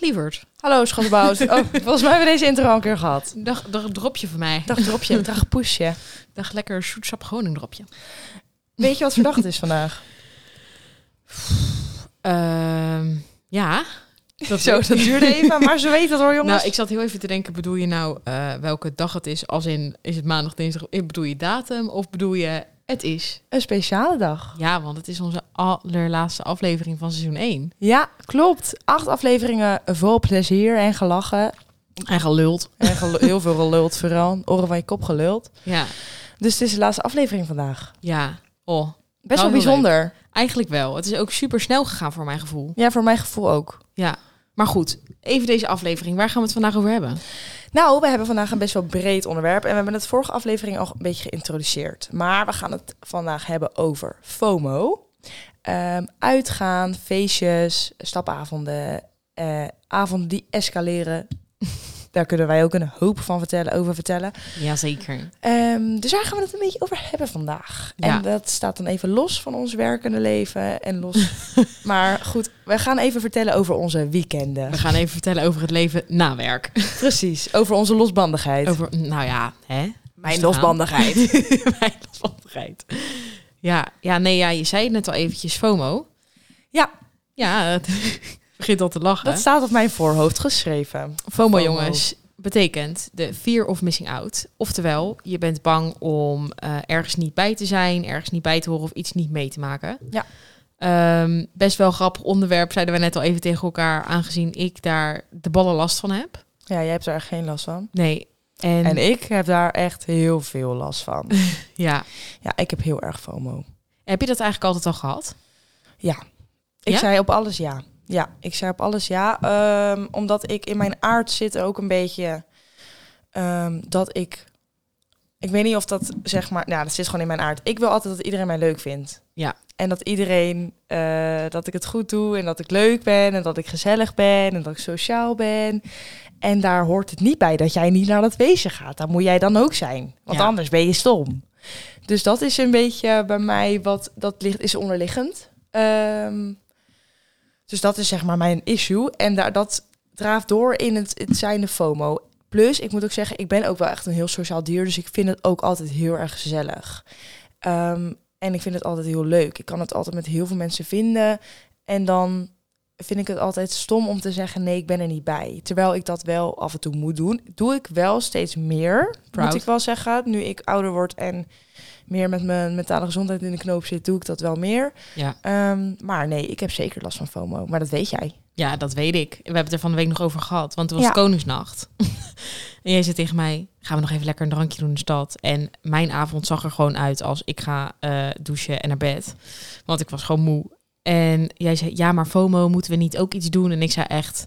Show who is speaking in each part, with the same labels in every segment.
Speaker 1: Evert.
Speaker 2: Hallo schatbout. Oh, volgens mij hebben we deze intro al een keer gehad.
Speaker 1: Dag, dag een dropje voor mij.
Speaker 2: Dag dropje, dag poesje.
Speaker 1: Dag lekker zoetsap Groning dropje.
Speaker 2: Weet je wat verdacht is vandaag?
Speaker 1: Ehm, ja. Dat
Speaker 2: zo, dat duurde even, maar ze weet dat hoor jongens.
Speaker 1: Nou, ik zat heel even te denken, bedoel je nou eh, welke dag het is? Als in, is het maandag, dinsdag? eh, Bedoel je datum of bedoel je het is?
Speaker 2: Een speciale dag.
Speaker 1: Ja, want het is onze allerlaatste aflevering van seizoen 1.
Speaker 2: Ja, klopt. Acht afleveringen vol plezier en gelachen.
Speaker 1: En geluld.
Speaker 2: En gelu- heel veel geluld vooral. Oren van je kop geluld.
Speaker 1: Ja,
Speaker 2: Dus het is de laatste aflevering vandaag.
Speaker 1: ja. Oh,
Speaker 2: Best
Speaker 1: Nou,
Speaker 2: wel
Speaker 1: heel
Speaker 2: bijzonder.
Speaker 1: eigenlijk wel. Het is ook super snel gegaan voor mijn gevoel.
Speaker 2: Ja, voor mijn gevoel ook.
Speaker 1: Ja. Maar goed, even deze aflevering. Waar gaan we het vandaag over hebben?
Speaker 2: Nou, we hebben vandaag een best wel breed onderwerp. En we hebben het vorige aflevering al een beetje geïntroduceerd. Maar we gaan het vandaag hebben over FOMO. Ehm, uitgaan, feestjes, stapavonden, eh, avonden die escaleren. Daar kunnen wij ook een hoop van vertellen, over vertellen.
Speaker 1: Jazeker.
Speaker 2: Ehm, dus daar gaan we het een beetje over hebben vandaag.
Speaker 1: Ja.
Speaker 2: En dat staat dan even los van ons werkende leven en los. maar goed, we gaan even vertellen over onze weekenden.
Speaker 1: We gaan even vertellen over het leven na werk.
Speaker 2: Precies, over onze losbandigheid.
Speaker 1: Over, nou ja, hè?
Speaker 2: Mijn
Speaker 1: Rustig aan.
Speaker 2: losbandigheid.
Speaker 1: Mijn losbandigheid. Ja, ja, nee, ja, je zei het net al eventjes, FOMO.
Speaker 2: Ja.
Speaker 1: Ja, het begint al te lachen.
Speaker 2: Dat staat op mijn voorhoofd geschreven.
Speaker 1: FOMO,
Speaker 2: FOMO.
Speaker 1: jongens, betekent de fear of missing out. Oftewel, je bent bang om eh, ergens niet bij te zijn, ergens niet bij te horen of iets niet mee te maken.
Speaker 2: Ja.
Speaker 1: Ehm, best wel grappig onderwerp, zeiden we net al even tegen elkaar, aangezien ik daar de ballen last van heb.
Speaker 2: Ja, jij hebt daar echt geen last van.
Speaker 1: Nee. En,
Speaker 2: En, ik heb daar echt heel veel last van.
Speaker 1: ja.
Speaker 2: ja, ik heb heel erg FOMO.
Speaker 1: Heb je dat eigenlijk altijd al gehad?
Speaker 2: Ik
Speaker 1: Ja?
Speaker 2: zei op alles ja. Ja, ik zei op alles ja. ehm, omdat ik in mijn aard zit ook een beetje ehm, dat ik... Ik weet niet of dat zeg maar... Nou, dat zit gewoon in mijn aard. Ik wil altijd dat iedereen mij leuk vindt.
Speaker 1: Ja.
Speaker 2: En dat iedereen... eh, dat ik het goed doe en dat ik leuk ben en dat ik gezellig ben en dat ik sociaal ben. En daar hoort het niet bij dat jij niet naar dat wezen gaat. Daar moet jij dan ook zijn. Want
Speaker 1: Ja.
Speaker 2: anders ben je stom. Dus dat is een beetje bij mij wat... Dat ligt, is onderliggend. Ehm, dus dat is zeg maar mijn issue. En daar, dat draaft door in het, het zijn de FOMO. Plus, ik moet ook zeggen, ik ben ook wel echt een heel sociaal dier. Dus ik vind het ook altijd heel erg gezellig. Ehm, en ik vind het altijd heel leuk. Ik kan het altijd met heel veel mensen vinden. En dan vind ik het altijd stom om te zeggen, nee, ik ben er niet bij. Terwijl ik dat wel af en toe moet doen. Doe ik wel steeds meer,
Speaker 1: Proud.
Speaker 2: moet ik wel zeggen. Nu ik ouder word en meer met mijn mentale gezondheid in de knoop zit, doe ik dat wel meer.
Speaker 1: Ja.
Speaker 2: Ehm, maar nee, ik heb zeker last van FOMO. Maar dat weet jij.
Speaker 1: Ja, dat weet ik. We hebben het er van de week nog over gehad, want het was
Speaker 2: Ja.
Speaker 1: Koningsnacht. en jij zei tegen mij, gaan we nog even lekker een drankje doen in de stad? En mijn avond zag er gewoon uit als ik ga eh, douchen en naar bed. Want ik was gewoon moe. En jij zei, ja, maar FOMO, moeten we niet ook iets doen? En ik zei echt,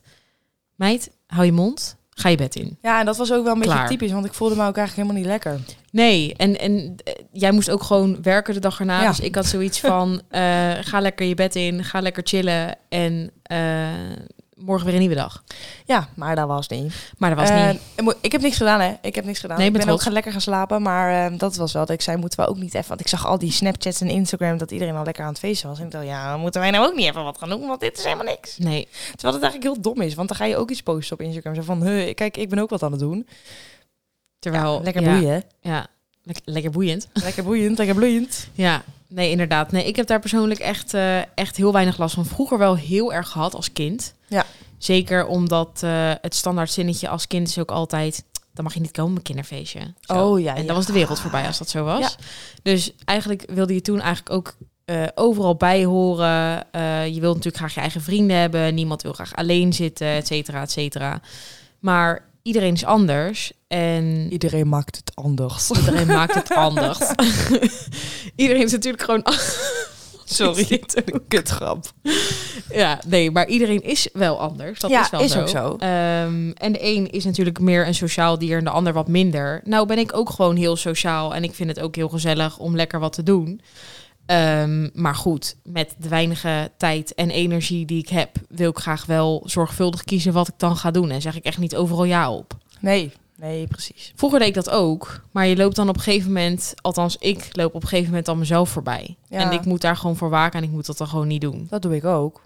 Speaker 1: meid, hou je mond, ga je bed in.
Speaker 2: Ja, en dat was ook wel een beetje
Speaker 1: Klaar.
Speaker 2: typisch, want ik voelde me ook eigenlijk helemaal niet lekker.
Speaker 1: Nee, en, en eh, jij moest ook gewoon werken de dag erna.
Speaker 2: Ja.
Speaker 1: Dus ik had zoiets van, eh, ga lekker je bed in, ga lekker chillen en eh, morgen weer een nieuwe dag.
Speaker 2: Ja, maar dat was niet.
Speaker 1: Maar dat was
Speaker 2: Eh,
Speaker 1: niet...
Speaker 2: ik moet- ik heb niks gedaan, hè? Ik heb niks gedaan.
Speaker 1: Nee,
Speaker 2: ik
Speaker 1: je
Speaker 2: ben
Speaker 1: bent
Speaker 2: ook
Speaker 1: trots.
Speaker 2: gaan lekker gaan slapen, maar eh, dat was wel dat ik zei, moeten we ook niet even... Want ik zag al die Snapchats en Instagram dat iedereen al lekker aan het feesten was. En ik dacht, ja, moeten wij nou ook niet even wat gaan doen, want dit is helemaal niks.
Speaker 1: Nee,
Speaker 2: Terwijl het eigenlijk heel dom is, want dan ga je ook iets posten op Instagram. Zo van, huh, kijk, ik ben ook wat aan het doen.
Speaker 1: Terwijl,
Speaker 2: lekker
Speaker 1: ja,
Speaker 2: boeien, hè?
Speaker 1: Ja, lek- lekker boeiend.
Speaker 2: Lekker boeiend, lekker bloeiend.
Speaker 1: Ja, nee, inderdaad. Nee, ik heb daar persoonlijk echt, eh, echt heel weinig last van. Vroeger wel heel erg gehad als kind.
Speaker 2: Ja.
Speaker 1: Zeker omdat eh, het standaard zinnetje als kind is ook altijd... Dan mag je niet komen op een kinderfeestje. Zo.
Speaker 2: Oh ja,
Speaker 1: En
Speaker 2: ja.
Speaker 1: dan was de wereld voorbij als dat zo was.
Speaker 2: Ja.
Speaker 1: Dus eigenlijk wilde je toen eigenlijk ook eh, overal bij horen. Eh, je wilt natuurlijk graag je eigen vrienden hebben. Niemand wil graag alleen zitten, et cetera, et cetera. Maar iedereen is anders. En
Speaker 2: Iedereen maakt het anders.
Speaker 1: Iedereen maakt het anders. iedereen is natuurlijk gewoon. Sorry.
Speaker 2: een kutgrap.
Speaker 1: Ja, nee, maar iedereen is wel anders. Dat
Speaker 2: Ja,
Speaker 1: is wel
Speaker 2: is
Speaker 1: zo.
Speaker 2: ook zo.
Speaker 1: Ehm, en de een is natuurlijk meer een sociaal dier en de ander wat minder. Nou ben ik ook gewoon heel sociaal en ik vind het ook heel gezellig om lekker wat te doen. Ehm, maar goed, met de weinige tijd en energie die ik heb, wil ik graag wel zorgvuldig kiezen wat ik dan ga doen. En zeg ik echt niet overal ja op.
Speaker 2: Nee, nee, precies.
Speaker 1: Vroeger deed ik dat ook, maar je loopt dan op een gegeven moment, althans ik loop op een gegeven moment aan mezelf voorbij.
Speaker 2: Ja.
Speaker 1: En ik moet daar gewoon voor waken en ik moet dat dan gewoon niet doen.
Speaker 2: Dat doe ik ook.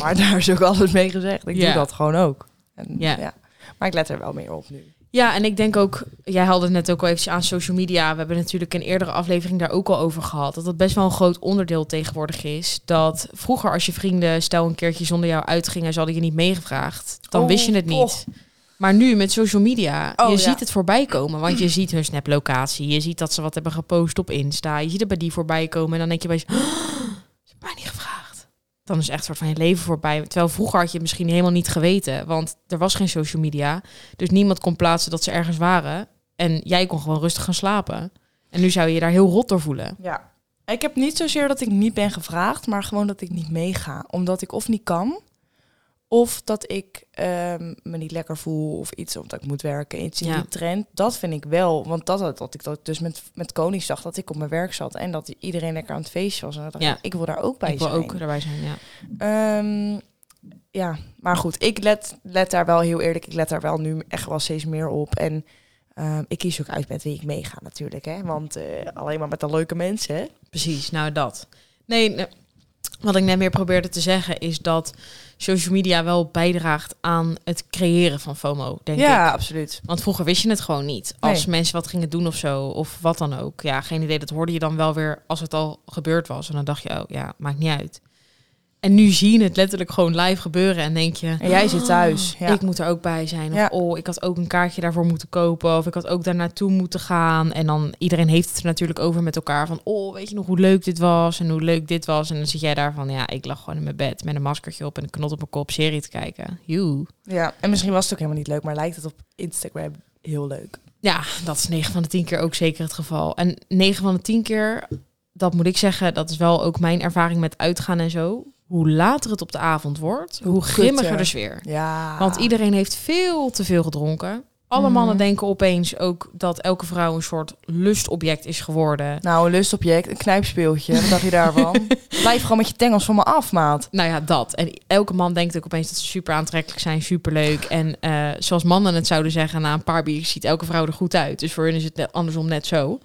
Speaker 2: Maar daar is ook alles mee gezegd. Ik
Speaker 1: Ja.
Speaker 2: doe dat gewoon ook. En,
Speaker 1: Ja.
Speaker 2: ja. Maar ik let er wel meer op nu.
Speaker 1: Ja, en ik denk ook, jij haalde het net ook al eventjes aan social media. We hebben natuurlijk een eerdere aflevering daar ook al over gehad. Dat dat best wel een groot onderdeel tegenwoordig is. Dat vroeger als je vrienden stel een keertje zonder jou uitgingen, ze hadden je niet meegevraagd. Dan
Speaker 2: Oh,
Speaker 1: wist je het niet.
Speaker 2: och.
Speaker 1: Maar nu met social media,
Speaker 2: Oh,
Speaker 1: je
Speaker 2: ja.
Speaker 1: ziet het voorbij komen. Want je ziet hun snaplocatie, je ziet dat ze wat hebben gepost op Insta. Je ziet het bij die voorbij komen en dan denk je bij jezelf, "Oh, ze hebben mij niet gevraagd. Dan is echt soort van je leven voorbij. Terwijl vroeger had je het misschien helemaal niet geweten. Want er was geen social media. Dus niemand kon plaatsen dat ze ergens waren. En jij kon gewoon rustig gaan slapen. En nu zou je je daar heel rot door voelen.
Speaker 2: Ja. Ik heb niet zozeer dat ik niet ben gevraagd, maar gewoon dat ik niet meega. Omdat ik of niet kan, of dat ik ehm, me niet lekker voel of iets, omdat ik moet werken, iets in
Speaker 1: Ja.
Speaker 2: die trend. Dat vind ik wel, want dat, dat, dat ik dat dus met, met Koningsdag, dat ik op mijn werk zat en dat iedereen lekker aan het feestje was. En dan dacht
Speaker 1: Ja.
Speaker 2: ik, ik wil daar ook bij
Speaker 1: ik wil
Speaker 2: zijn.
Speaker 1: ook erbij zijn, ja.
Speaker 2: Ehm, ja, maar goed, ik let, let daar wel heel eerlijk, ik let daar wel nu echt wel steeds meer op. En ehm, ik kies ook uit met wie ik meega natuurlijk, hè. Want eh, alleen maar met de leuke mensen, hè.
Speaker 1: Precies, nou dat. Nee, nee, wat ik net meer probeerde te zeggen is dat social media wel bijdraagt aan het creëren van FOMO, denk ik.
Speaker 2: ja, absoluut.
Speaker 1: Want vroeger wist je het gewoon niet.
Speaker 2: Nee.
Speaker 1: Als mensen wat gingen doen of zo, of wat dan ook. Ja, geen idee. Dat hoorde je dan wel weer als het al gebeurd was. En dan dacht je, oh ja, maakt niet uit. En nu zie je het letterlijk gewoon live gebeuren en denk je... Ah,
Speaker 2: En jij zit thuis. Ja.
Speaker 1: Ik moet er ook bij zijn. Of
Speaker 2: Ja.
Speaker 1: oh, ik had ook een kaartje daarvoor moeten kopen. Of ik had ook daar naartoe moeten gaan. En dan iedereen heeft het er natuurlijk over met elkaar. Van oh, weet je nog hoe leuk dit was en hoe leuk dit was. En dan zit jij daar van ja, ik lag gewoon in mijn bed met een maskertje op en een knot op mijn kop serie te kijken. Joe.
Speaker 2: ja. En misschien was het ook helemaal niet leuk, maar lijkt het op Instagram heel leuk.
Speaker 1: Ja, dat is 9 van de 10 keer ook zeker het geval. En 9 van de 10 keer, dat moet ik zeggen, dat is wel ook mijn ervaring met uitgaan en zo. Hoe later het op de avond wordt, hoe,
Speaker 2: Hoe
Speaker 1: grimmiger
Speaker 2: kutter.
Speaker 1: de sfeer.
Speaker 2: Ja.
Speaker 1: Want iedereen heeft veel te veel gedronken. Alle
Speaker 2: Mhm.
Speaker 1: mannen denken opeens ook dat elke vrouw een soort lustobject is geworden.
Speaker 2: Nou, een lustobject, een knijpspeeltje. Wat dacht je daarvan? Blijf gewoon met je tengels van me af, maat.
Speaker 1: Nou ja, dat. En elke man denkt ook opeens dat ze super aantrekkelijk zijn, super leuk. En eh, zoals mannen het zouden zeggen, na een paar bier ziet elke vrouw er goed uit. Dus voor hun is het net- andersom net zo.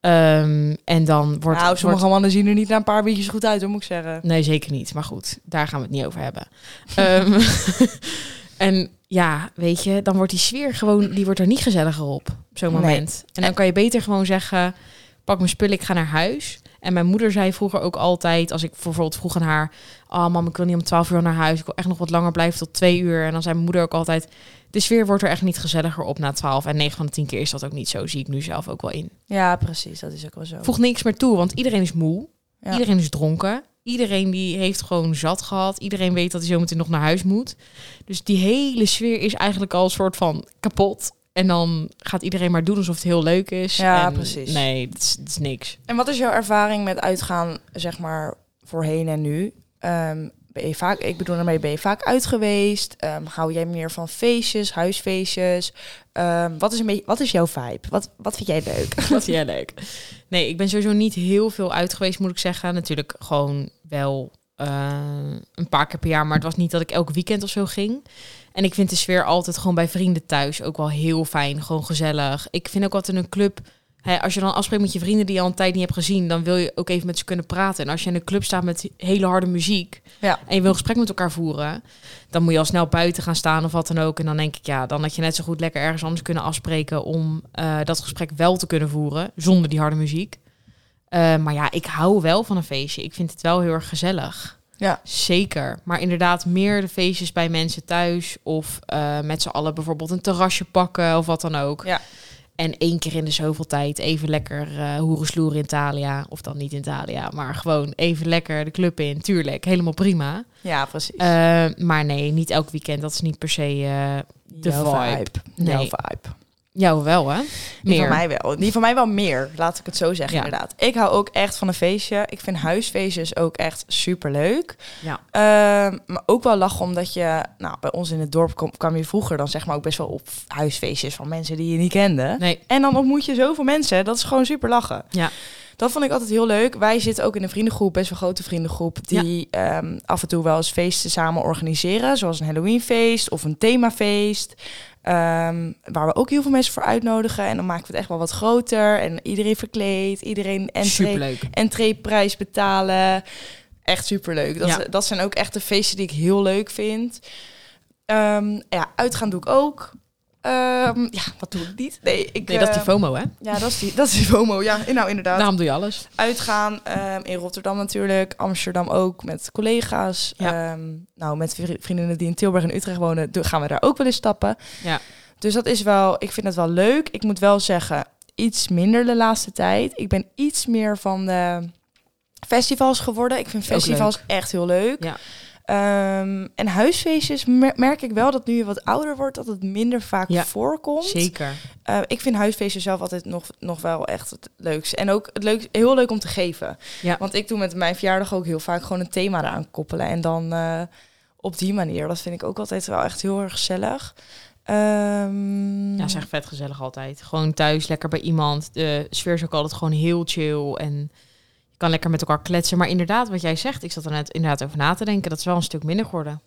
Speaker 1: Ehm, en dan wordt,
Speaker 2: nou,
Speaker 1: wordt-
Speaker 2: sommige mannen zien er niet na een paar biertjes goed uit, hoor, moet ik zeggen.
Speaker 1: Nee, zeker niet. Maar goed, daar gaan we het niet over hebben. Ehm, en ja, weet je, dan wordt die sfeer gewoon, die wordt er niet gezelliger op, op zo'n
Speaker 2: Nee.
Speaker 1: moment. En dan kan je beter gewoon zeggen, pak mijn spullen, ik ga naar huis. En mijn moeder zei vroeger ook altijd, als ik bijvoorbeeld vroeg aan haar, oh mam, ik wil niet om 12 uur naar huis, ik wil echt nog wat langer blijven tot twee uur. En dan zei mijn moeder ook altijd, de sfeer wordt er echt niet gezelliger op na 12. En 9 van de 10 keer is dat ook niet zo, zie ik nu zelf ook wel in.
Speaker 2: Ja, precies. Dat is ook wel zo.
Speaker 1: Voeg niks meer toe, want iedereen is moe.
Speaker 2: Ja.
Speaker 1: Iedereen is dronken. Iedereen die heeft gewoon zat gehad. Iedereen weet dat hij zometeen nog naar huis moet. Dus die hele sfeer is eigenlijk al een soort van kapot. En dan gaat iedereen maar doen alsof het heel leuk is.
Speaker 2: Ja,
Speaker 1: En
Speaker 2: precies.
Speaker 1: Nee, het is, het is niks.
Speaker 2: En wat is jouw ervaring met uitgaan, zeg maar, voorheen en nu? Ehm, ben je vaak, ik bedoel daarmee, ben je vaak uit geweest? Ehm, hou jij meer van feestjes, huisfeestjes? Ehm, wat, is een beetje, wat is jouw vibe? Wat, wat vind jij leuk?
Speaker 1: Wat jij leuk. Nee, ik ben sowieso niet heel veel uit geweest, moet ik zeggen. Natuurlijk gewoon wel eh, een paar keer per jaar. Maar het was niet dat ik elk weekend of zo ging. En ik vind de sfeer altijd gewoon bij vrienden thuis ook wel heel fijn. Gewoon gezellig. Ik vind ook altijd in een club... Hè, als je dan afspreekt met je vrienden die je al een tijd niet hebt gezien... dan wil je ook even met ze kunnen praten. En als je in een club staat met hele harde muziek...
Speaker 2: Ja.
Speaker 1: en je wil een gesprek met elkaar voeren... dan moet je al snel buiten gaan staan of wat dan ook. En dan denk ik, ja, dan had je net zo goed lekker ergens anders kunnen afspreken... om eh, dat gesprek wel te kunnen voeren, zonder die harde muziek. Eh, maar ja, ik hou wel van een feestje. Ik vind het wel heel erg gezellig.
Speaker 2: Ja.
Speaker 1: Zeker. Maar inderdaad, meer de feestjes bij mensen thuis. Of eh, met z'n allen bijvoorbeeld een terrasje pakken of wat dan ook.
Speaker 2: Ja.
Speaker 1: En één keer in de zoveel tijd even lekker eh hoeren sloeren in Italia. Of dan niet in Italia, maar gewoon even lekker de club in. Tuurlijk, helemaal prima.
Speaker 2: Ja, precies.
Speaker 1: Eh, maar nee, niet elk weekend. Dat is niet per se eh, de
Speaker 2: Jouw
Speaker 1: vibe. Nee.
Speaker 2: Nee. Jouw vibe.
Speaker 1: Jou wel, hè?
Speaker 2: Die van
Speaker 1: Meer.
Speaker 2: mij wel. Die van mij wel meer, laat ik het zo zeggen
Speaker 1: Ja.
Speaker 2: inderdaad. Ik hou ook echt van een feestje. Ik vind huisfeestjes ook echt superleuk.
Speaker 1: Ja.
Speaker 2: Ehm, maar ook wel lachen omdat je... Nou, bij ons in het dorp kom- kwam je vroeger dan zeg maar ook best wel op huisfeestjes van mensen die je niet kende.
Speaker 1: Nee.
Speaker 2: En dan ontmoet je zoveel mensen. Dat is gewoon super lachen.
Speaker 1: Ja.
Speaker 2: Dat vond ik altijd heel leuk. Wij zitten ook in een vriendengroep, best wel grote vriendengroep, die ehm, af en toe wel eens feesten samen organiseren. Zoals een Halloweenfeest of een themafeest. ehm, waar we ook heel veel mensen voor uitnodigen. En dan maken we het echt wel wat groter. En iedereen verkleed, iedereen entree,
Speaker 1: Superleuk.
Speaker 2: entreeprijs betalen. echt superleuk. Dat,
Speaker 1: Ja.
Speaker 2: dat zijn ook echt de feesten die ik heel leuk vind. Ehm, ja, uitgaan doe ik ook. Ehm, ja, wat doe ik niet? Nee, ik,
Speaker 1: Nee, dat is die
Speaker 2: eh,
Speaker 1: FOMO, hè?
Speaker 2: Ja, dat is die, dat is die FOMO. Ja, nou inderdaad.
Speaker 1: Daarom doe je alles.
Speaker 2: Uitgaan ehm, in Rotterdam natuurlijk, Amsterdam ook met collega's.
Speaker 1: Ja.
Speaker 2: Ehm, nou, met vri- vriendinnen die in Tilburg en Utrecht wonen, do- gaan we daar ook wel eens stappen.
Speaker 1: Ja.
Speaker 2: Dus dat is wel, ik vind het wel leuk. Ik moet wel zeggen, iets minder de laatste tijd. Ik ben iets meer van de festivals geworden. Ik vind
Speaker 1: Ook leuk.
Speaker 2: festivals echt heel leuk.
Speaker 1: Ja.
Speaker 2: Ehm, en huisfeestjes mer- merk ik wel dat nu je wat ouder wordt, dat het minder vaak
Speaker 1: Ja.
Speaker 2: voorkomt.
Speaker 1: Zeker.
Speaker 2: Eh, ik vind huisfeesten zelf altijd nog, nog wel echt het leukste. En ook het leuk, heel leuk om te geven.
Speaker 1: Ja.
Speaker 2: Want ik doe met mijn verjaardag ook heel vaak gewoon een thema eraan koppelen. En dan eh, op die manier. Dat vind ik ook altijd wel echt heel erg gezellig. Ehm,
Speaker 1: Ja, is echt vet gezellig altijd. Gewoon thuis, lekker bij iemand. De sfeer is ook altijd gewoon heel chill. En je kan lekker met elkaar kletsen. Maar inderdaad, wat jij zegt, ik zat er net inderdaad over na te denken. Dat is wel een stuk minder geworden.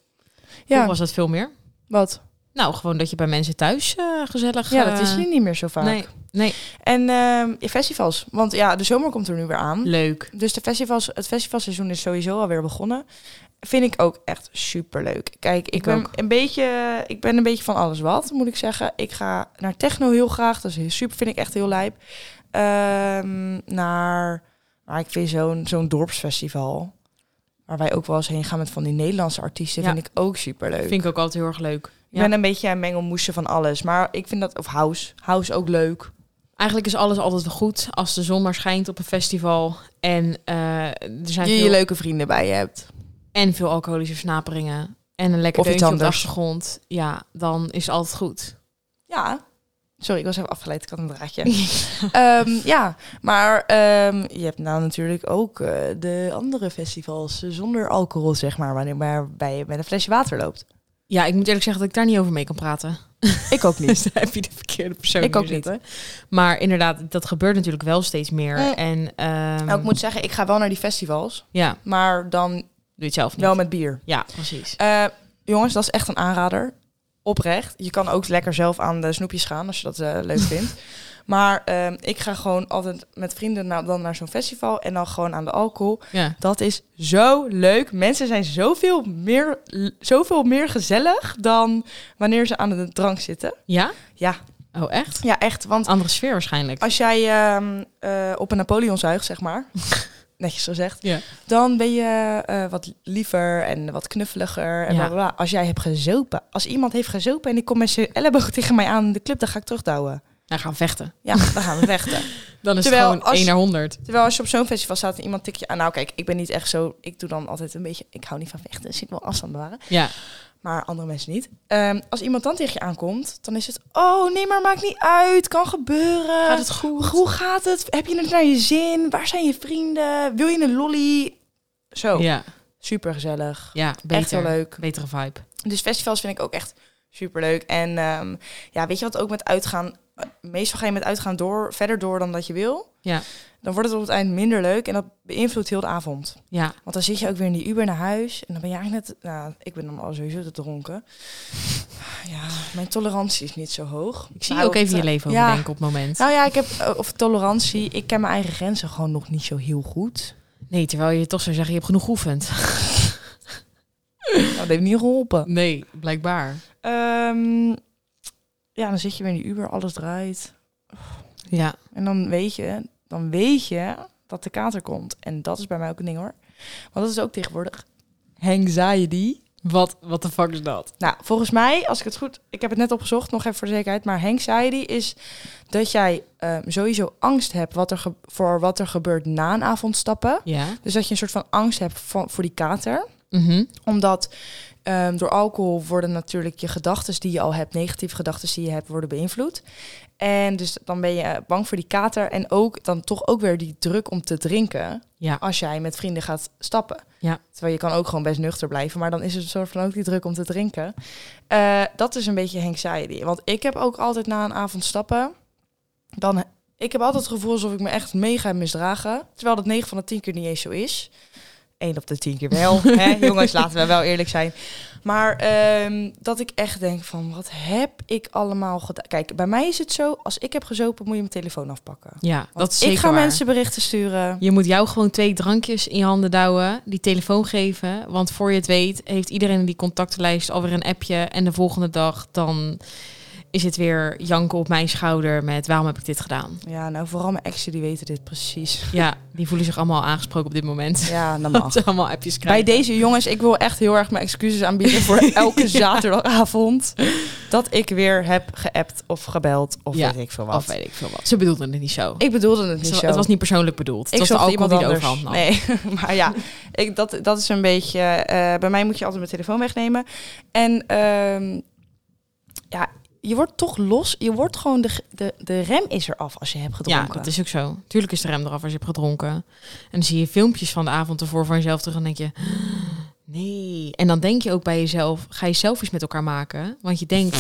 Speaker 1: Ja.
Speaker 2: ja
Speaker 1: was dat veel meer?
Speaker 2: wat?
Speaker 1: Nou, gewoon dat je bij mensen thuis eh, gezellig...
Speaker 2: Ja, dat
Speaker 1: eh,
Speaker 2: is nu niet meer zo vaak.
Speaker 1: Nee, nee.
Speaker 2: En ehm, ja, festivals. Want ja, de zomer komt er nu weer aan.
Speaker 1: Leuk.
Speaker 2: Dus de festivals, het festivalseizoen is sowieso alweer begonnen. Vind ik ook echt superleuk. Kijk, ik,
Speaker 1: Ik
Speaker 2: ben
Speaker 1: ook.
Speaker 2: een beetje, ik ben een beetje van alles wat, moet ik zeggen. Ik ga naar techno heel graag. Dat is heel super, vind ik echt heel lijp. Ehm, naar, maar ik vind zo'n zo'n dorpsfestival, waar wij ook wel eens heen gaan met van die Nederlandse artiesten,
Speaker 1: Ja.
Speaker 2: vind ik ook superleuk.
Speaker 1: Vind ik ook altijd heel erg leuk.
Speaker 2: Ik ben een beetje een mengelmoesje van alles, maar ik vind dat of house, house ook leuk.
Speaker 1: Eigenlijk is alles altijd wel goed als de zon maar schijnt op een festival. En eh, er zijn
Speaker 2: Je je
Speaker 1: veel,
Speaker 2: leuke vrienden bij je hebt.
Speaker 1: en veel alcoholische versnaperingen. En een lekker
Speaker 2: Of iets
Speaker 1: deuntje op de
Speaker 2: anders.
Speaker 1: achtergrond. Ja, dan is het altijd goed.
Speaker 2: Ja. Sorry, ik was even afgeleid. Ik had een draadje. Ehm, ja, maar ehm, je hebt nou natuurlijk ook eh, de andere festivals eh, zonder alcohol, zeg maar, wanneer waarbij je met een flesje water loopt.
Speaker 1: Ja, ik moet eerlijk zeggen dat ik daar niet over mee kan praten.
Speaker 2: Ik ook niet.
Speaker 1: Dus daar heb je de verkeerde persoon
Speaker 2: Ik ook
Speaker 1: hier
Speaker 2: niet.
Speaker 1: zitten. Maar inderdaad, dat gebeurt natuurlijk wel steeds meer.
Speaker 2: Mm.
Speaker 1: En ehm,
Speaker 2: nou, ik moet zeggen, ik ga wel naar die festivals,
Speaker 1: ja, doe
Speaker 2: maar dan
Speaker 1: je het zelf niet.
Speaker 2: wel met bier.
Speaker 1: Ja, precies.
Speaker 2: Eh, jongens, dat is echt een aanrader. Oprecht. Je kan ook lekker zelf aan de snoepjes gaan als je dat eh, leuk vindt. Maar ehm, ik ga gewoon altijd met vrienden naar, dan naar zo'n festival en dan gewoon aan de alcohol.
Speaker 1: Ja.
Speaker 2: Dat is zo leuk. Mensen zijn zoveel meer, zoveel meer gezellig dan wanneer ze aan de drank zitten.
Speaker 1: ja?
Speaker 2: Ja,
Speaker 1: Oh, echt?
Speaker 2: ja echt. Want
Speaker 1: Andere sfeer waarschijnlijk.
Speaker 2: als jij ehm, eh, op een Napoleon zuigt, zeg maar, netjes gezegd,
Speaker 1: Ja.
Speaker 2: dan ben je eh, wat liever en wat knuffeliger. En
Speaker 1: Ja.
Speaker 2: bla, bla, bla. Als jij hebt gezopen, als iemand heeft gezopen en die komt met zijn elleboog tegen mij aan in de club, dan ga ik terugdouwen.
Speaker 1: Nou, gaan vechten.
Speaker 2: Ja, dan gaan we vechten.
Speaker 1: Dan is
Speaker 2: Terwijl
Speaker 1: het gewoon
Speaker 2: als-
Speaker 1: 1 naar 100.
Speaker 2: Terwijl als je op zo'n festival staat en iemand tikt je aan. Nou, kijk, ik ben niet echt zo. Ik doe dan altijd een beetje. Ik hou niet van vechten, dus ik wil afstand bewaren.
Speaker 1: Ja.
Speaker 2: Maar andere mensen niet. Ehm, als iemand dan tegen je aankomt, dan is het. Oh, nee, maar maakt niet uit. Kan gebeuren.
Speaker 1: Gaat het goed?
Speaker 2: Hoe gaat het? Heb je het naar je zin? Waar zijn je vrienden? Wil je een lolly? Zo.
Speaker 1: Ja,
Speaker 2: Super gezellig.
Speaker 1: ja beter.
Speaker 2: Echt heel leuk.
Speaker 1: Betere vibe.
Speaker 2: Dus festivals vind ik ook echt super leuk. En ehm, ja, weet je wat ook met uitgaan? eh, Meestal ga je met uitgaan door, verder door dan dat je wil.
Speaker 1: Ja.
Speaker 2: Dan wordt het op het eind minder leuk en dat beïnvloedt heel de avond.
Speaker 1: Ja,
Speaker 2: Want dan zit je ook weer in die Uber naar huis en dan ben je eigenlijk net... Nou, ik ben dan al sowieso te dronken. Ja, mijn tolerantie is niet zo hoog.
Speaker 1: ik zie
Speaker 2: Nou,
Speaker 1: ook even je
Speaker 2: eh,
Speaker 1: leven
Speaker 2: ja.
Speaker 1: overdenken op het moment.
Speaker 2: Nou ja, ik heb... eh, Of tolerantie, ik ken mijn eigen grenzen gewoon nog niet zo heel goed.
Speaker 1: Nee, terwijl je toch zou zeggen, je hebt genoeg geoefend.
Speaker 2: Nou, dat heeft niet geholpen.
Speaker 1: Nee, blijkbaar.
Speaker 2: Ehm, ja, dan zit je weer in die Uber, alles draait.
Speaker 1: Ja,
Speaker 2: En dan weet je, dan weet je dat de kater komt. En dat is bij mij ook een ding hoor. Want dat is ook tegenwoordig anxiety.
Speaker 1: wat wat de fuck is dat?
Speaker 2: Nou, volgens mij, als ik het goed... Ik heb het net opgezocht, nog even voor de zekerheid. Maar anxiety is dat jij eh, sowieso angst hebt wat er ge- voor wat er gebeurt na een avondstappen.
Speaker 1: Ja.
Speaker 2: Dus dat je een soort van angst hebt van, voor die kater.
Speaker 1: Mhm.
Speaker 2: Omdat ehm, door alcohol worden natuurlijk je gedachten die je al hebt, negatieve gedachten die je hebt, worden beïnvloed. En dus dan ben je eh, bang voor die kater en ook dan toch ook weer die druk om te drinken
Speaker 1: Ja.
Speaker 2: als jij met vrienden gaat stappen.
Speaker 1: Ja.
Speaker 2: Terwijl je kan ook gewoon best nuchter blijven, maar dan is het een soort van ook die druk om te drinken. Eh, dat is een beetje anxiety. Want ik heb ook altijd na een avond stappen, dan ik heb altijd het gevoel alsof ik me echt mega heb misdragen, terwijl dat 9 van de 10 keer niet eens zo is. één op de tien keer wel. hè? Jongens, laten we wel eerlijk zijn. Maar ehm, dat ik echt denk van, wat heb ik allemaal gedaan? Kijk, bij mij is het zo, als ik heb gezopen, moet je mijn telefoon afpakken.
Speaker 1: Ja, dat
Speaker 2: Want
Speaker 1: is zeker
Speaker 2: ik ga
Speaker 1: waar.
Speaker 2: mensen berichten sturen.
Speaker 1: Je moet jou gewoon twee drankjes in je handen douwen, die telefoon geven. Want voor je het weet, heeft iedereen in die contactenlijst alweer een appje. En de volgende dag dan is het weer janken op mijn schouder met waarom heb ik dit gedaan?
Speaker 2: Ja, nou vooral mijn exen, die weten dit precies.
Speaker 1: Ja, die voelen zich allemaal aangesproken op dit moment.
Speaker 2: Ja, dat
Speaker 1: Dat
Speaker 2: mag.
Speaker 1: ze allemaal appjes
Speaker 2: Bij
Speaker 1: krijgen.
Speaker 2: deze jongens, ik wil echt heel erg mijn excuses aanbieden voor elke zaterdagavond dat ik weer heb geappt of gebeld of
Speaker 1: Ja,
Speaker 2: weet ik veel wat.
Speaker 1: Of weet ik veel wat. Ze bedoelden het niet zo.
Speaker 2: Ik bedoelde het niet
Speaker 1: Ze-
Speaker 2: zo.
Speaker 1: Het was niet persoonlijk bedoeld. Het was de
Speaker 2: zocht
Speaker 1: alcohol die de
Speaker 2: iemand
Speaker 1: overhand nam.
Speaker 2: anders. Nee, maar ja, ik, dat, dat is een beetje... eh, bij mij moet je altijd mijn telefoon wegnemen. En ehm, ja, je wordt toch los. Je wordt gewoon... De, de, de rem is eraf als je hebt
Speaker 1: Ja,
Speaker 2: gedronken.
Speaker 1: dat is ook zo. Tuurlijk is de rem eraf als je hebt gedronken. En dan zie je filmpjes van de avond ervoor van jezelf terug en denk je... Nee. En dan denk je ook bij jezelf, ga je selfies met elkaar maken? Want je denkt,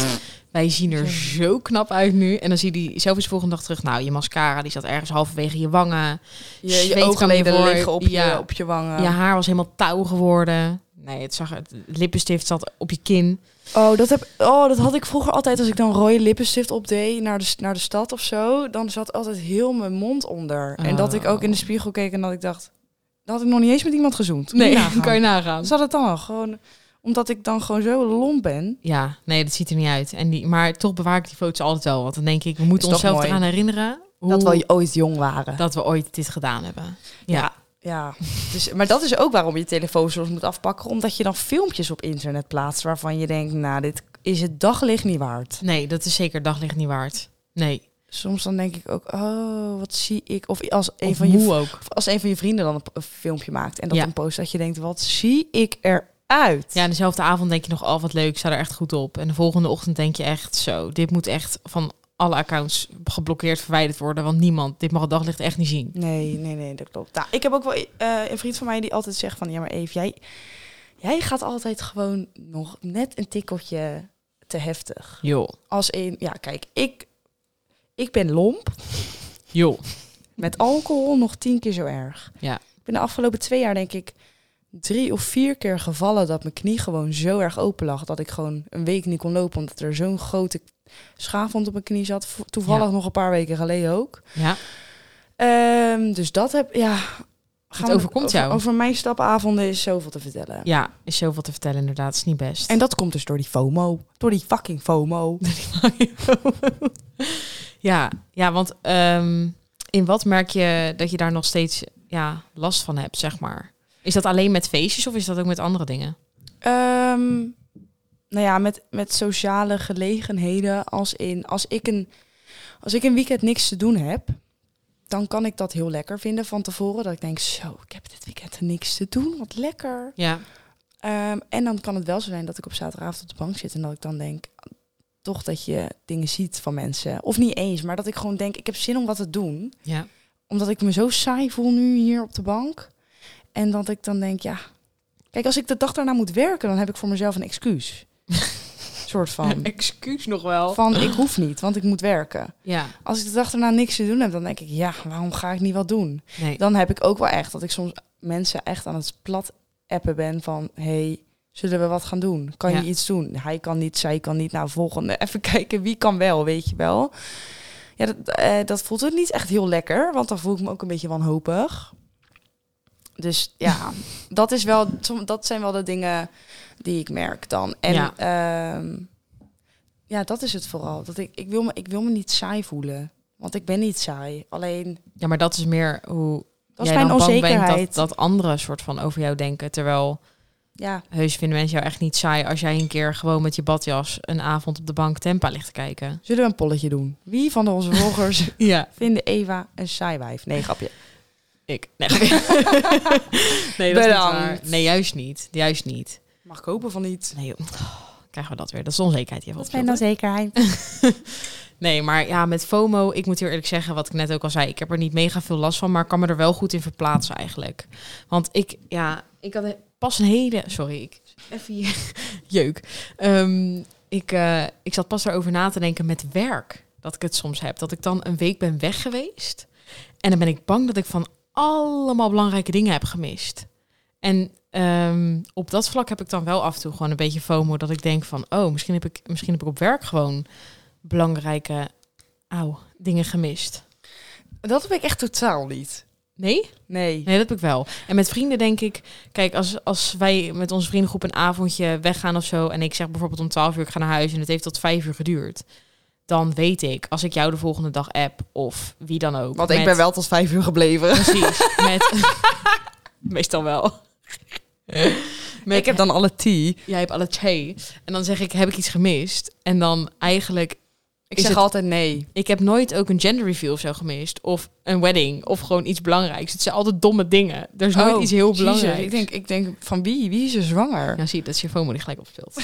Speaker 1: wij zien er zo knap uit nu. En dan zie je die selfies de volgende dag terug. Nou, je mascara, die zat ergens halverwege je wangen.
Speaker 2: Je,
Speaker 1: zweet
Speaker 2: je oogleden
Speaker 1: kwam je voor.
Speaker 2: liggen op,
Speaker 1: Ja.
Speaker 2: je, op je wangen.
Speaker 1: Je haar was helemaal touw geworden. Nee, het, zag, er- het lippenstift zat op je kin.
Speaker 2: Oh, dat heb, oh, dat had ik vroeger altijd als ik dan rode lippenstift opdeed naar de, s- naar de stad of zo. Dan zat altijd heel mijn mond onder. En dat
Speaker 1: Oh.
Speaker 2: ik ook in de spiegel keek en dat ik dacht... Dat had ik nog niet eens met iemand gezoend. Moet je
Speaker 1: Nee,
Speaker 2: nagaan.
Speaker 1: kan je nagaan.
Speaker 2: Zat het dan gewoon omdat ik dan gewoon zo lomp ben?
Speaker 1: Ja, nee, dat ziet er niet uit. En die, maar toch bewaar ik die foto's altijd wel. Want dan denk ik, we moeten
Speaker 2: Is toch
Speaker 1: onszelf
Speaker 2: mooi.
Speaker 1: eraan herinneren... Hoe,
Speaker 2: ooit jong waren.
Speaker 1: dat we ooit dit gedaan hebben. Ja.
Speaker 2: ja. ja. dus, maar dat is ook waarom je telefoon soms moet afpakken. Omdat je dan filmpjes op internet plaatst waarvan je denkt, nou, dit is het daglicht niet waard.
Speaker 1: Nee, dat is zeker daglicht niet waard. Nee.
Speaker 2: Soms dan denk ik ook, oh, wat zie ik? Of als een,
Speaker 1: Of
Speaker 2: van, je,
Speaker 1: moe ook.
Speaker 2: of als een van je vrienden dan een, p- een filmpje maakt en dat
Speaker 1: Ja.
Speaker 2: dan post, dat je denkt, wat zie ik eruit?
Speaker 1: Ja, en dezelfde avond denk je nog, oh wat leuk, ik sta er echt goed op. En de volgende ochtend denk je echt, zo, dit moet echt van alle accounts geblokkeerd, verwijderd worden. Want niemand, dit mag het daglicht echt niet zien.
Speaker 2: Nee, nee, nee, dat klopt. Nou, ik heb ook wel eh, een vriend van mij die altijd zegt van... Ja, maar Eve, jij, jij gaat altijd gewoon nog net een tikkeltje te heftig.
Speaker 1: Joh,
Speaker 2: Als in, ja, kijk, ik, ik ben lomp.
Speaker 1: joh.
Speaker 2: Met alcohol nog tien keer zo erg.
Speaker 1: Ja.
Speaker 2: Ik ben de afgelopen twee jaar denk ik drie of vier keer gevallen... dat mijn knie gewoon zo erg open lag... dat ik gewoon een week niet kon lopen... omdat er zo'n grote schaafwond op mijn knie zat. Vo- Toevallig nog een paar weken geleden ook.
Speaker 1: Ja,
Speaker 2: Ehm, dus dat heb ja. gaan we-
Speaker 1: overkomt
Speaker 2: over,
Speaker 1: jou.
Speaker 2: Over mijn stapavonden is zoveel te vertellen.
Speaker 1: ja, is zoveel te vertellen inderdaad, is niet best.
Speaker 2: En dat komt dus door die FOMO. Door die fucking FOMO.
Speaker 1: ja, ja, want ehm, in wat merk je dat je daar nog steeds ja, last van hebt, zeg maar? Is dat alleen met feestjes of is dat ook met andere dingen?
Speaker 2: Ehm, nou ja, met, met sociale gelegenheden. Als in, als ik, een, als ik een weekend niks te doen heb, dan kan ik dat heel lekker vinden van tevoren. Dat ik denk, zo, ik heb dit weekend niks te doen. Wat lekker.
Speaker 1: Ja,
Speaker 2: Ehm, en dan kan het wel zo zijn dat ik op zaterdagavond op de bank zit en dat ik dan denk, toch dat je dingen ziet van mensen. Of niet eens, maar dat ik gewoon denk, ik heb zin om wat te doen.
Speaker 1: ja.
Speaker 2: Omdat ik me zo saai voel nu hier op de bank. En dat ik dan denk, ja, kijk, als ik de dag daarna moet werken, dan heb ik voor mezelf een excuus. soort van.
Speaker 1: Excuus nog wel.
Speaker 2: Van ik hoef niet, want ik moet werken.
Speaker 1: Ja,
Speaker 2: Als ik de dag daarna niks te doen heb, dan denk ik, ja, waarom ga ik niet wat doen?
Speaker 1: nee.
Speaker 2: dan heb ik ook wel echt dat ik soms mensen echt aan het plat appen ben van hey zullen we wat gaan doen kan
Speaker 1: Ja.
Speaker 2: je iets doen hij kan niet zij kan niet nou volgende even kijken wie kan wel weet je wel ja dat, eh, dat voelt ook niet echt heel lekker want dan voel ik me ook een beetje wanhopig dus ja dat is wel som- dat zijn wel de dingen die ik merk dan en
Speaker 1: Ja.
Speaker 2: ja, ja dat is het vooral dat ik ik wil me ik wil me niet saai voelen want ik ben niet saai alleen
Speaker 1: Ja, maar dat is meer hoe
Speaker 2: dat is
Speaker 1: jij
Speaker 2: mijn
Speaker 1: dan bang
Speaker 2: onzekerheid
Speaker 1: bent dat, dat anderen soort van over jou denken. Terwijl
Speaker 2: ja
Speaker 1: heus vinden mensen jou echt niet saai als jij een keer gewoon met je badjas een avond op de bank Tempa ligt te kijken.
Speaker 2: Zullen we een polletje doen? Wie van onze volgers
Speaker 1: Ja,
Speaker 2: vinden Eva een saai wijf? Nee, grapje.
Speaker 1: ik. Nee, nee dat is niet waar.
Speaker 2: Bedankt.
Speaker 1: Nee, juist niet. Juist niet.
Speaker 2: Mag kopen van niet.
Speaker 1: Nee, joh. Oh, krijgen we dat weer. Dat is de onzekerheid die je
Speaker 2: Dat
Speaker 1: hebt
Speaker 2: is mijn
Speaker 1: opgespeeld,
Speaker 2: onzekerheid.
Speaker 1: hè? Nee, maar ja, met FOMO, ik moet heel eerlijk zeggen, wat ik net ook al zei, ik heb er niet mega veel last van, maar ik kan me er wel goed in verplaatsen eigenlijk. Want ik, ja, ik had pas een hele. Sorry, ik. Even hier. jeuk. Ehm, ik, eh, ik zat pas erover na te denken met werk. Dat ik het soms heb. Dat ik dan een week ben weg geweest. En dan ben ik bang dat ik van allemaal belangrijke dingen heb gemist. En ehm, op dat vlak heb ik dan wel af en toe gewoon een beetje FOMO. Dat ik denk van, oh, misschien heb ik, misschien heb ik op werk gewoon belangrijke auw, dingen gemist.
Speaker 2: Dat heb ik echt totaal niet.
Speaker 1: Nee?
Speaker 2: Nee.
Speaker 1: Nee, dat heb ik wel. En met vrienden denk ik, kijk, als, als wij met onze vriendengroep een avondje weggaan of zo, en ik zeg bijvoorbeeld om 12 uur ik ga naar huis en het heeft tot 5 uur geduurd, dan weet ik, als ik jou de volgende dag app of wie dan ook.
Speaker 2: Want ik
Speaker 1: met-
Speaker 2: ben wel tot vijf uur gebleven.
Speaker 1: Precies, met. Meestal wel. Met,
Speaker 2: ik heb dan alle tea.
Speaker 1: Jij hebt alle thee. En dan zeg ik, heb ik iets gemist? En dan eigenlijk
Speaker 2: Ik
Speaker 1: Is
Speaker 2: zeg
Speaker 1: het-
Speaker 2: altijd nee.
Speaker 1: ik heb nooit ook een gender reveal of zo gemist. Of een wedding. Of gewoon iets belangrijks. Het zijn altijd domme dingen. Er is nooit
Speaker 2: Oh,
Speaker 1: iets heel
Speaker 2: Jezus,
Speaker 1: belangrijks.
Speaker 2: Ik denk, ik denk, van wie? Wie is er zwanger?
Speaker 1: Ja, zie je, dat is je FOMO die gelijk opspeelt.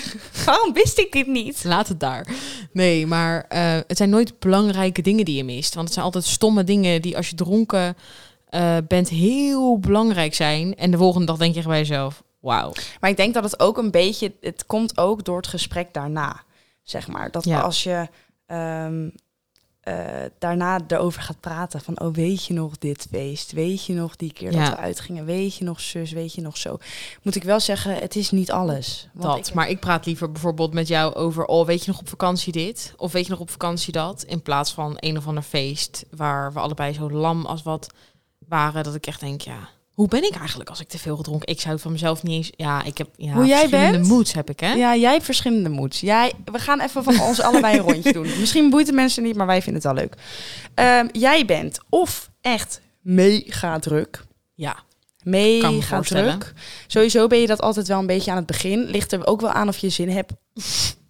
Speaker 2: Waarom wist ik dit niet?
Speaker 1: Laat het daar. Nee, maar eh, het zijn nooit belangrijke dingen die je mist. Want het zijn altijd stomme dingen die als je dronken eh, bent heel belangrijk zijn. En de volgende dag denk je bij jezelf, wauw.
Speaker 2: Maar ik denk dat het ook een beetje... Het komt ook door het gesprek daarna, zeg maar. Dat
Speaker 1: Ja.
Speaker 2: als je ehm, eh, daarna erover gaat praten van... Oh, weet je nog dit feest? Weet je nog die keer
Speaker 1: Ja.
Speaker 2: dat we uitgingen? Weet je nog zus? Weet je nog zo? Moet ik wel zeggen, het is niet alles. Want
Speaker 1: Dat.
Speaker 2: ik-
Speaker 1: Maar ik praat liever bijvoorbeeld met jou over, oh, weet je nog op vakantie dit? Of weet je nog op vakantie dat? In plaats van een of ander feest waar we allebei zo lam als wat waren. Dat ik echt denk, ja, hoe ben ik eigenlijk als ik te veel gedronken? Ik zou het van mezelf niet eens... Ja, ik heb ja,
Speaker 2: Hoe jij
Speaker 1: verschillende
Speaker 2: bent?
Speaker 1: moods heb ik, hè?
Speaker 2: Ja, jij hebt verschillende moods. Jij, we gaan even van ons allebei een rondje doen. Misschien boeit de mensen niet, maar wij vinden het wel leuk. Ehm, jij bent of echt mega druk.
Speaker 1: ja. Kan me
Speaker 2: Mega
Speaker 1: voorstellen.
Speaker 2: druk. Sowieso ben je dat altijd wel een beetje aan het begin. Ligt er ook wel aan of je zin hebt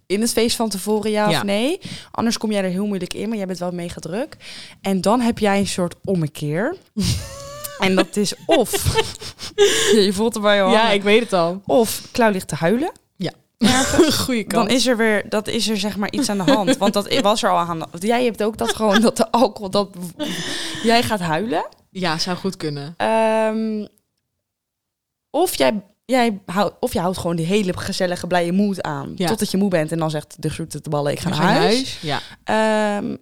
Speaker 2: in het feest van tevoren, ja,
Speaker 1: Ja.
Speaker 2: of nee. Anders kom jij er heel moeilijk in, maar jij bent wel mega druk. En dan heb jij een soort ommekeer. en dat is of... Ja, je voelt er bij al.
Speaker 1: Ja, ik weet het al.
Speaker 2: Of Klauw ligt te huilen.
Speaker 1: Goeie
Speaker 2: Dan is er weer, dat is er zeg maar iets aan de hand. Want dat was er al aan. de- Jij hebt ook dat gewoon, dat de alcohol, dat jij gaat huilen.
Speaker 1: Ja, zou goed kunnen.
Speaker 2: Ehm, of jij, jij houdt, of je houdt gewoon die hele gezellige, blije moed aan.
Speaker 1: Ja.
Speaker 2: Totdat je moe bent en dan zegt de groeten de ballen, ik ga naar huis.
Speaker 1: Ja.
Speaker 2: Ehm,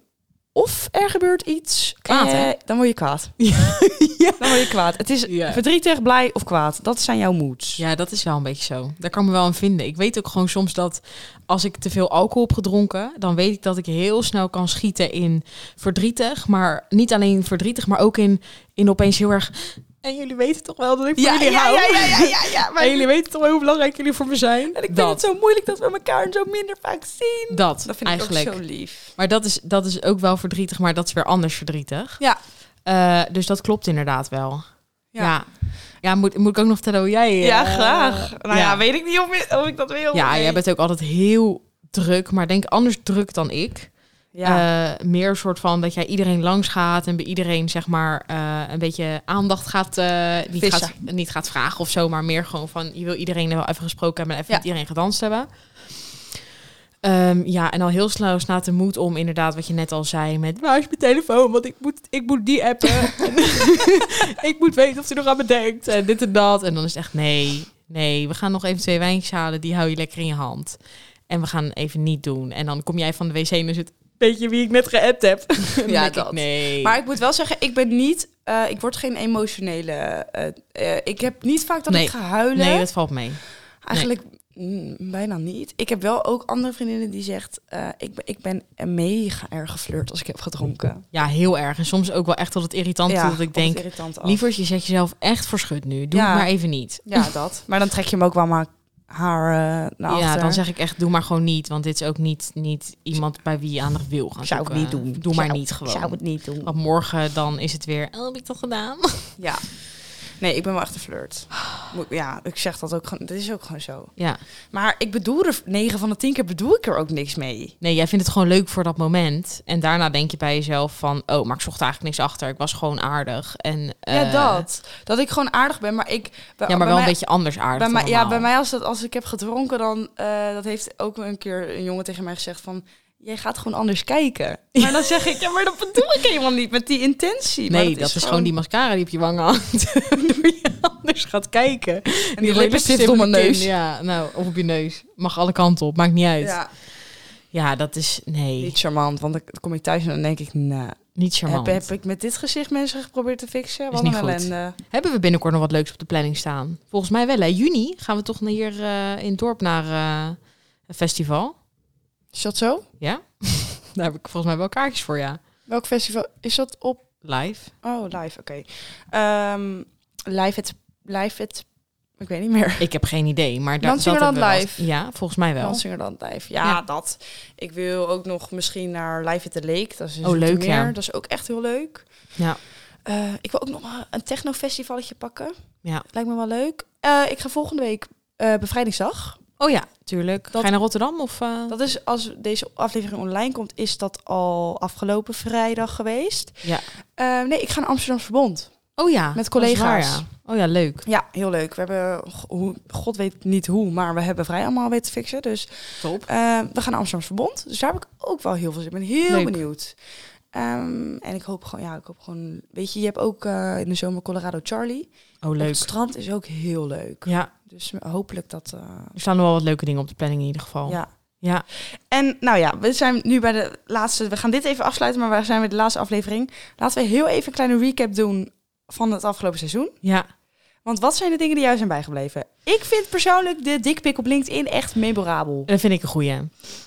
Speaker 2: of er gebeurt iets.
Speaker 1: Kwaad,
Speaker 2: eh,
Speaker 1: hè?
Speaker 2: Dan word je kwaad. Dan word je kwaad. Het is
Speaker 1: Ja.
Speaker 2: verdrietig, blij of kwaad. Dat zijn jouw moods.
Speaker 1: ja, dat is wel een beetje zo. Daar kan ik me wel aan vinden. Ik weet ook gewoon soms dat als ik te veel alcohol heb gedronken, dan weet ik dat ik heel snel kan schieten in verdrietig. Maar niet alleen verdrietig, maar ook in, in opeens heel erg. En jullie weten toch wel dat ik voor jullie hou.
Speaker 2: ja, ja, maar-
Speaker 1: En jullie weten toch wel hoe belangrijk jullie voor me zijn.
Speaker 2: En ik vind
Speaker 1: dat,
Speaker 2: het zo moeilijk dat we elkaar zo minder vaak zien.
Speaker 1: dat,
Speaker 2: Dat vind
Speaker 1: eigenlijk.
Speaker 2: ik ook zo lief.
Speaker 1: Maar dat is, dat is ook wel verdrietig, maar dat is weer anders verdrietig.
Speaker 2: Ja.
Speaker 1: Eh, dus dat klopt inderdaad wel.
Speaker 2: Ja.
Speaker 1: Ja. Ja, moet, moet ik ook nog vertellen hoe jij... eh,
Speaker 2: ja, graag. Nou ja.
Speaker 1: ja.
Speaker 2: weet ik niet of, of ik dat wil.
Speaker 1: Ja,
Speaker 2: Nee.
Speaker 1: jij bent ook altijd heel druk, maar denk anders druk dan ik.
Speaker 2: Ja.
Speaker 1: Eh, meer een soort van dat jij iedereen langs gaat en bij iedereen zeg maar eh, een beetje aandacht gaat, eh, niet,
Speaker 2: Vissen.
Speaker 1: gaat, niet gaat vragen of zo, maar meer gewoon van je wil iedereen wel even gesproken hebben en even
Speaker 2: Ja.
Speaker 1: met iedereen gedanst hebben. Ehm, ja, en al heel snel staat de moed om, inderdaad, wat je net al zei, met waar is mijn telefoon, want ik moet, ik moet die appen. En ik moet weten of ze nog aan me denkt en dit en dat. En dan is het echt, nee, nee, we gaan nog even twee wijntjes halen, die hou je lekker in je hand. En we gaan even niet doen. En dan kom jij van de wc en dan zit, weet je wie ik net geappt heb? En dan
Speaker 2: Ja,
Speaker 1: denk ik,
Speaker 2: dat.
Speaker 1: nee.
Speaker 2: maar ik moet wel zeggen, ik ben niet... eh, ik word geen emotionele... eh, eh, ik heb niet vaak dat
Speaker 1: Nee.
Speaker 2: ik ga huilen.
Speaker 1: nee, dat valt mee.
Speaker 2: Eigenlijk mm, bijna niet. Ik heb wel ook andere vriendinnen die zegt... eh, ik, ben- ik ben mega erg geflirt als ik heb gedronken.
Speaker 1: Ja, heel erg. En soms ook wel echt tot het irritant
Speaker 2: ja,
Speaker 1: toe dat ik
Speaker 2: komt
Speaker 1: denk,
Speaker 2: irritant af.
Speaker 1: liever je zet jezelf echt voor schut nu. Doe
Speaker 2: Ja.
Speaker 1: het maar even niet.
Speaker 2: Ja, dat. Maar dan trek je hem ook wel maar haar eh, naar achter.
Speaker 1: Ja, dan zeg ik echt, doe maar gewoon niet. Want dit is ook niet, niet iemand bij wie je aandacht wil gaan
Speaker 2: Ik zou het
Speaker 1: zoeken.
Speaker 2: niet doen.
Speaker 1: eh, Doe maar
Speaker 2: Zou-
Speaker 1: niet
Speaker 2: Ik zou
Speaker 1: gewoon. Oh.
Speaker 2: het niet doen.
Speaker 1: Want morgen dan is het weer, oh, heb ik dat gedaan?
Speaker 2: Ja. Nee, ik ben wel echt een flirt. Moet- Ja, ik zeg dat ook gewoon. Dat is ook gewoon zo.
Speaker 1: Ja.
Speaker 2: Maar ik bedoel er 9 van de 10 keer bedoel ik er ook niks mee.
Speaker 1: Nee, jij vindt het gewoon leuk voor dat moment. En daarna denk je bij jezelf van, oh, maar ik zocht eigenlijk niks achter. Ik was gewoon aardig. En,
Speaker 2: ja,
Speaker 1: eh,
Speaker 2: dat. Dat ik gewoon aardig ben, maar ik.
Speaker 1: Ja,
Speaker 2: bij-
Speaker 1: maar
Speaker 2: bij
Speaker 1: wel
Speaker 2: mij-
Speaker 1: een beetje anders aardig
Speaker 2: Bij
Speaker 1: dan
Speaker 2: mij, ja,
Speaker 1: normaal.
Speaker 2: bij mij als, dat, als ik heb gedronken, dan eh, dat heeft ook een keer een jongen tegen mij gezegd van. Jij gaat gewoon anders kijken. Maar dan zeg ik, ja, maar dat bedoel ik helemaal niet met die intentie. Maar
Speaker 1: Nee, dat, is gewoon die mascara die op je wangen hangt. Waardoor je anders gaat kijken.
Speaker 2: en
Speaker 1: Die
Speaker 2: die
Speaker 1: rode
Speaker 2: lippenstift
Speaker 1: lipstift
Speaker 2: om mijn
Speaker 1: kin,
Speaker 2: neus.
Speaker 1: Ja, nou, of op je neus. Mag alle kanten op, maakt niet uit. Ja,
Speaker 2: Ja,
Speaker 1: dat is... Nee.
Speaker 2: niet charmant, want dan kom ik thuis en dan denk ik, nou,
Speaker 1: Niet
Speaker 2: Heb,
Speaker 1: charmant.
Speaker 2: heb ik met dit gezicht mensen geprobeerd te fixen? Wat
Speaker 1: niet
Speaker 2: een
Speaker 1: goed.
Speaker 2: ellende.
Speaker 1: Hebben we binnenkort nog wat leuks op de planning staan? Volgens mij wel. Hè? Juni gaan we toch naar hier eh, in het dorp naar eh, een festival.
Speaker 2: Is dat zo?
Speaker 1: Ja? Daar heb ik volgens mij wel kaartjes voor, ja.
Speaker 2: Welk festival? Is dat op?
Speaker 1: Live.
Speaker 2: Oh, live, oké. Ehm, live het... Live het... Ik weet niet meer.
Speaker 1: Ik heb geen idee, maar daar dat
Speaker 2: Lansingerland
Speaker 1: hebben we wel-
Speaker 2: Live.
Speaker 1: Ja, volgens mij wel.
Speaker 2: Dansingerland live. Ja,
Speaker 1: Ja.
Speaker 2: dat. Ik wil ook nog misschien naar Live at the Lake. Dat is in
Speaker 1: Oh, leuk,
Speaker 2: Zoetermeer.
Speaker 1: ja.
Speaker 2: Dat is ook echt heel leuk.
Speaker 1: Ja.
Speaker 2: Eh, ik wil ook nog een technofestivalletje pakken.
Speaker 1: Ja.
Speaker 2: Lijkt me wel leuk. Eh, ik ga volgende week eh, Bevrijdingsdag.
Speaker 1: Oh ja, tuurlijk.
Speaker 2: Dat-
Speaker 1: Ga je naar Rotterdam of... eh,
Speaker 2: Dat is als deze aflevering online komt, is dat al afgelopen vrijdag geweest.
Speaker 1: Ja.
Speaker 2: Eh, nee, ik ga naar Amsterdam Verbond.
Speaker 1: Oh ja.
Speaker 2: Met
Speaker 1: dat is waar,
Speaker 2: collega's.
Speaker 1: ja. Oh ja, leuk.
Speaker 2: Ja, heel leuk. We hebben, go- hoe- god weet niet hoe, maar we hebben vrij allemaal weten te fixen. Dus
Speaker 1: Top.
Speaker 2: eh, we gaan naar Amsterdam Verbond. Dus daar heb ik ook wel heel veel zin in. Ik ben heel
Speaker 1: Leuk.
Speaker 2: benieuwd. Ehm, en ik hoop gewoon, ja, ik hoop gewoon, weet je, je hebt ook eh, in de zomer Colorado Charlie.
Speaker 1: Oh,
Speaker 2: Op
Speaker 1: leuk.
Speaker 2: het strand is ook heel leuk.
Speaker 1: Ja,
Speaker 2: Dus hopelijk dat, eh,
Speaker 1: er staan wel wat leuke dingen op de planning in ieder geval.
Speaker 2: ja,
Speaker 1: Ja.
Speaker 2: En nou ja, we zijn nu bij de laatste. We gaan dit even afsluiten, maar we zijn bij de laatste aflevering. Laten we heel even een kleine recap doen van het afgelopen seizoen.
Speaker 1: Ja.
Speaker 2: Want wat zijn de dingen die jou zijn bijgebleven? Ik vind persoonlijk de dikpik op LinkedIn echt memorabel.
Speaker 1: Dat vind ik een goeie.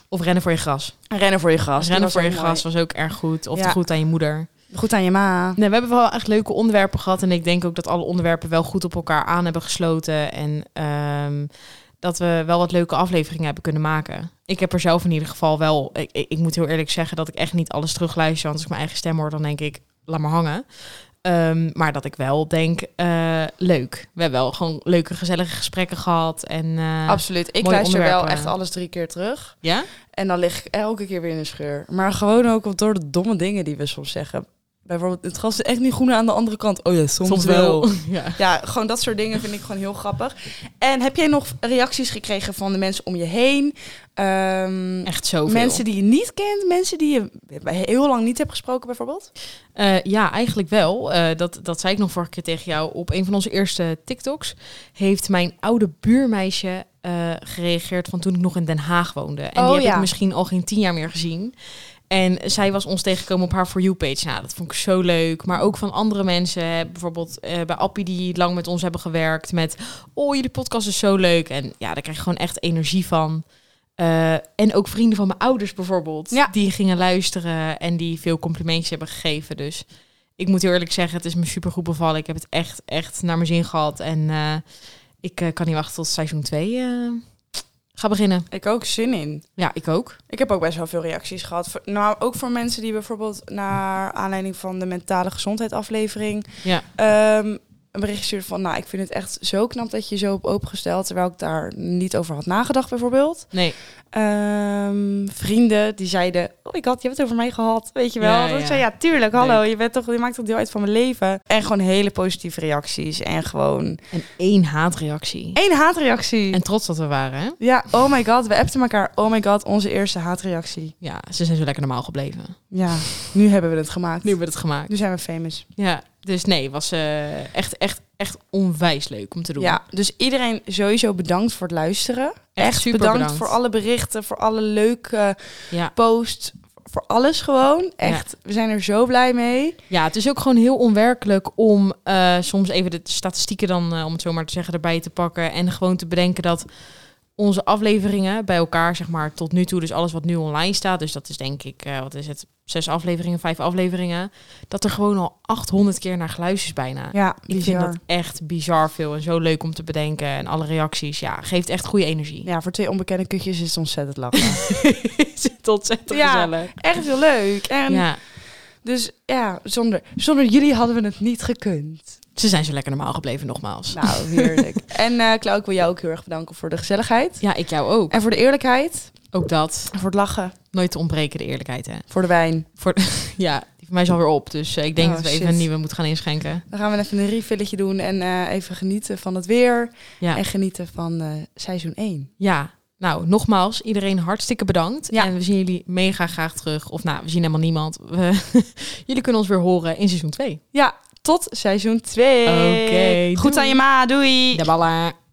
Speaker 1: Of rennen voor je gras.
Speaker 2: Rennen voor je gras.
Speaker 1: rennen voor je gras
Speaker 2: gras.
Speaker 1: was ook erg goed. Of
Speaker 2: Ja.
Speaker 1: te goed aan je moeder.
Speaker 2: Goed aan je ma.
Speaker 1: Nee, we hebben wel echt leuke onderwerpen gehad. En ik denk ook dat alle onderwerpen wel goed op elkaar aan hebben gesloten. En ehm, dat we wel wat leuke afleveringen hebben kunnen maken. Ik heb er zelf in ieder geval wel... Ik, ik, ik moet heel eerlijk zeggen dat ik echt niet alles terugluister. Want als ik mijn eigen stem hoor, dan denk ik... Laat maar hangen. Ehm, maar dat ik wel denk, eh, leuk. We hebben wel gewoon leuke, gezellige gesprekken gehad. En, eh,
Speaker 2: Absoluut. Ik
Speaker 1: Mooie
Speaker 2: luister wel
Speaker 1: onderwerpen.
Speaker 2: echt alles drie keer terug.
Speaker 1: Ja?
Speaker 2: En dan lig ik elke keer weer in een scheur. Maar gewoon ook door de domme dingen die we soms zeggen. Bijvoorbeeld, het gras is echt niet groen aan de andere kant. Oh ja, soms, wel.
Speaker 1: ja.
Speaker 2: Ja, gewoon dat soort dingen vind ik gewoon heel grappig. En heb jij nog reacties gekregen van de mensen om je heen? Ehm,
Speaker 1: Echt zoveel.
Speaker 2: mensen die je niet kent, mensen die je heel lang niet hebt gesproken bijvoorbeeld?
Speaker 1: Eh, ja, eigenlijk wel. Eh, dat, dat zei ik nog vorige keer tegen jou. Op een van onze eerste TikToks heeft mijn oude buurmeisje eh, gereageerd van toen ik nog in Den Haag woonde. En
Speaker 2: Oh,
Speaker 1: die heb
Speaker 2: ja.
Speaker 1: ik misschien al geen tien jaar meer gezien. En zij was ons tegengekomen op haar For You-page. Nou, dat vond ik zo leuk. Maar ook van andere mensen. hè. Bijvoorbeeld eh, bij Appie, die lang met ons hebben gewerkt. Met, oh, jullie podcast is zo leuk. En ja, daar krijg je gewoon echt energie van. Eh, en ook vrienden van mijn ouders bijvoorbeeld.
Speaker 2: Ja.
Speaker 1: Die gingen luisteren en die veel complimentjes hebben gegeven. Dus ik moet heel eerlijk zeggen, het is me supergoed bevallen. Ik heb het echt, echt naar mijn zin gehad. En eh, ik eh, kan niet wachten tot seizoen 2 gaat beginnen.
Speaker 2: Ik ook zin in.
Speaker 1: Ja, ik ook.
Speaker 2: Ik heb ook best wel veel reacties gehad. Voor- Nou, ook voor mensen die bijvoorbeeld naar aanleiding van de mentale gezondheid aflevering
Speaker 1: Ja.
Speaker 2: ehm, een bericht stuurden van, nou, ik vind het echt zo knap dat je je zo op opengesteld, terwijl ik daar niet over had nagedacht bijvoorbeeld.
Speaker 1: Nee,
Speaker 2: Ehm, vrienden die zeiden: Oh, ik had je hebt het over mij gehad. Weet je wel?
Speaker 1: Ja,
Speaker 2: dat
Speaker 1: ja.
Speaker 2: zei ja, tuurlijk. Hallo,
Speaker 1: Leuk.
Speaker 2: je, bent toch, je maakt toch deel uit van mijn leven. En gewoon hele positieve reacties. En gewoon
Speaker 1: en één haatreactie.
Speaker 2: één haatreactie.
Speaker 1: En trots dat we waren, hè?
Speaker 2: Ja, oh my god, we appten elkaar. Oh my god, onze eerste haatreactie.
Speaker 1: Ja, ze zijn zo lekker normaal gebleven. Dus-
Speaker 2: Ja, nu hebben we het gemaakt.
Speaker 1: Nu hebben we het gemaakt.
Speaker 2: Nu zijn we famous.
Speaker 1: Ja, dus nee, was eh, echt, echt, echt onwijs leuk om te doen.
Speaker 2: Ja, dus iedereen sowieso bedankt voor het luisteren. Echt,
Speaker 1: Echt super
Speaker 2: bedankt,
Speaker 1: bedankt.
Speaker 2: voor alle berichten, voor alle leuke
Speaker 1: Ja.
Speaker 2: posts, voor alles gewoon. Echt, we zijn er zo blij mee.
Speaker 1: Ja, het is ook gewoon heel onwerkelijk om eh, soms even de statistieken dan, eh, om het zo maar te zeggen, erbij te pakken. En gewoon te bedenken dat onze afleveringen bij elkaar, zeg maar, tot nu toe, dus alles wat nu online staat, dus dat is denk ik, eh, wat is het, zes afleveringen, vijf afleveringen, dat er gewoon al 800 keer naar geluisterd is bijna.
Speaker 2: Ja,
Speaker 1: Ik vind dat echt bizar veel en zo leuk om te bedenken. En alle reacties, ja, geeft echt goede energie.
Speaker 2: Ja, voor twee onbekende kutjes is het ontzettend lachen.
Speaker 1: is het ontzettend
Speaker 2: Ja.
Speaker 1: gezellig.
Speaker 2: Echt heel leuk. En
Speaker 1: Ja,
Speaker 2: dus ja, zonder, zonder jullie hadden we het niet gekund.
Speaker 1: ze zijn zo lekker normaal gebleven, nogmaals.
Speaker 2: Nou, heerlijk. en eh Klauw, ik wil jou ook heel erg bedanken voor de gezelligheid.
Speaker 1: Ja, ik jou ook.
Speaker 2: En voor de eerlijkheid.
Speaker 1: Ook dat.
Speaker 2: En voor het lachen.
Speaker 1: Nooit te ontbreken, de eerlijkheid, hè.
Speaker 2: Voor de wijn.
Speaker 1: Voor, ja, die van mij is alweer op. Dus eh, ik denk
Speaker 2: Oh,
Speaker 1: dat we
Speaker 2: shit.
Speaker 1: even een nieuwe moeten gaan inschenken.
Speaker 2: Dan gaan we even een refilletje doen en eh, even genieten van het weer.
Speaker 1: Ja.
Speaker 2: En genieten van eh, seizoen 1.
Speaker 1: Ja, nou, nogmaals, iedereen hartstikke bedankt.
Speaker 2: Ja.
Speaker 1: En we zien jullie mega graag terug. Of nou, we zien helemaal niemand. We- jullie kunnen ons weer horen in seizoen 2.
Speaker 2: Ja, tot seizoen 2.
Speaker 1: Oké,
Speaker 2: Goed
Speaker 1: doei.
Speaker 2: aan je ma, doei.
Speaker 1: De ballen.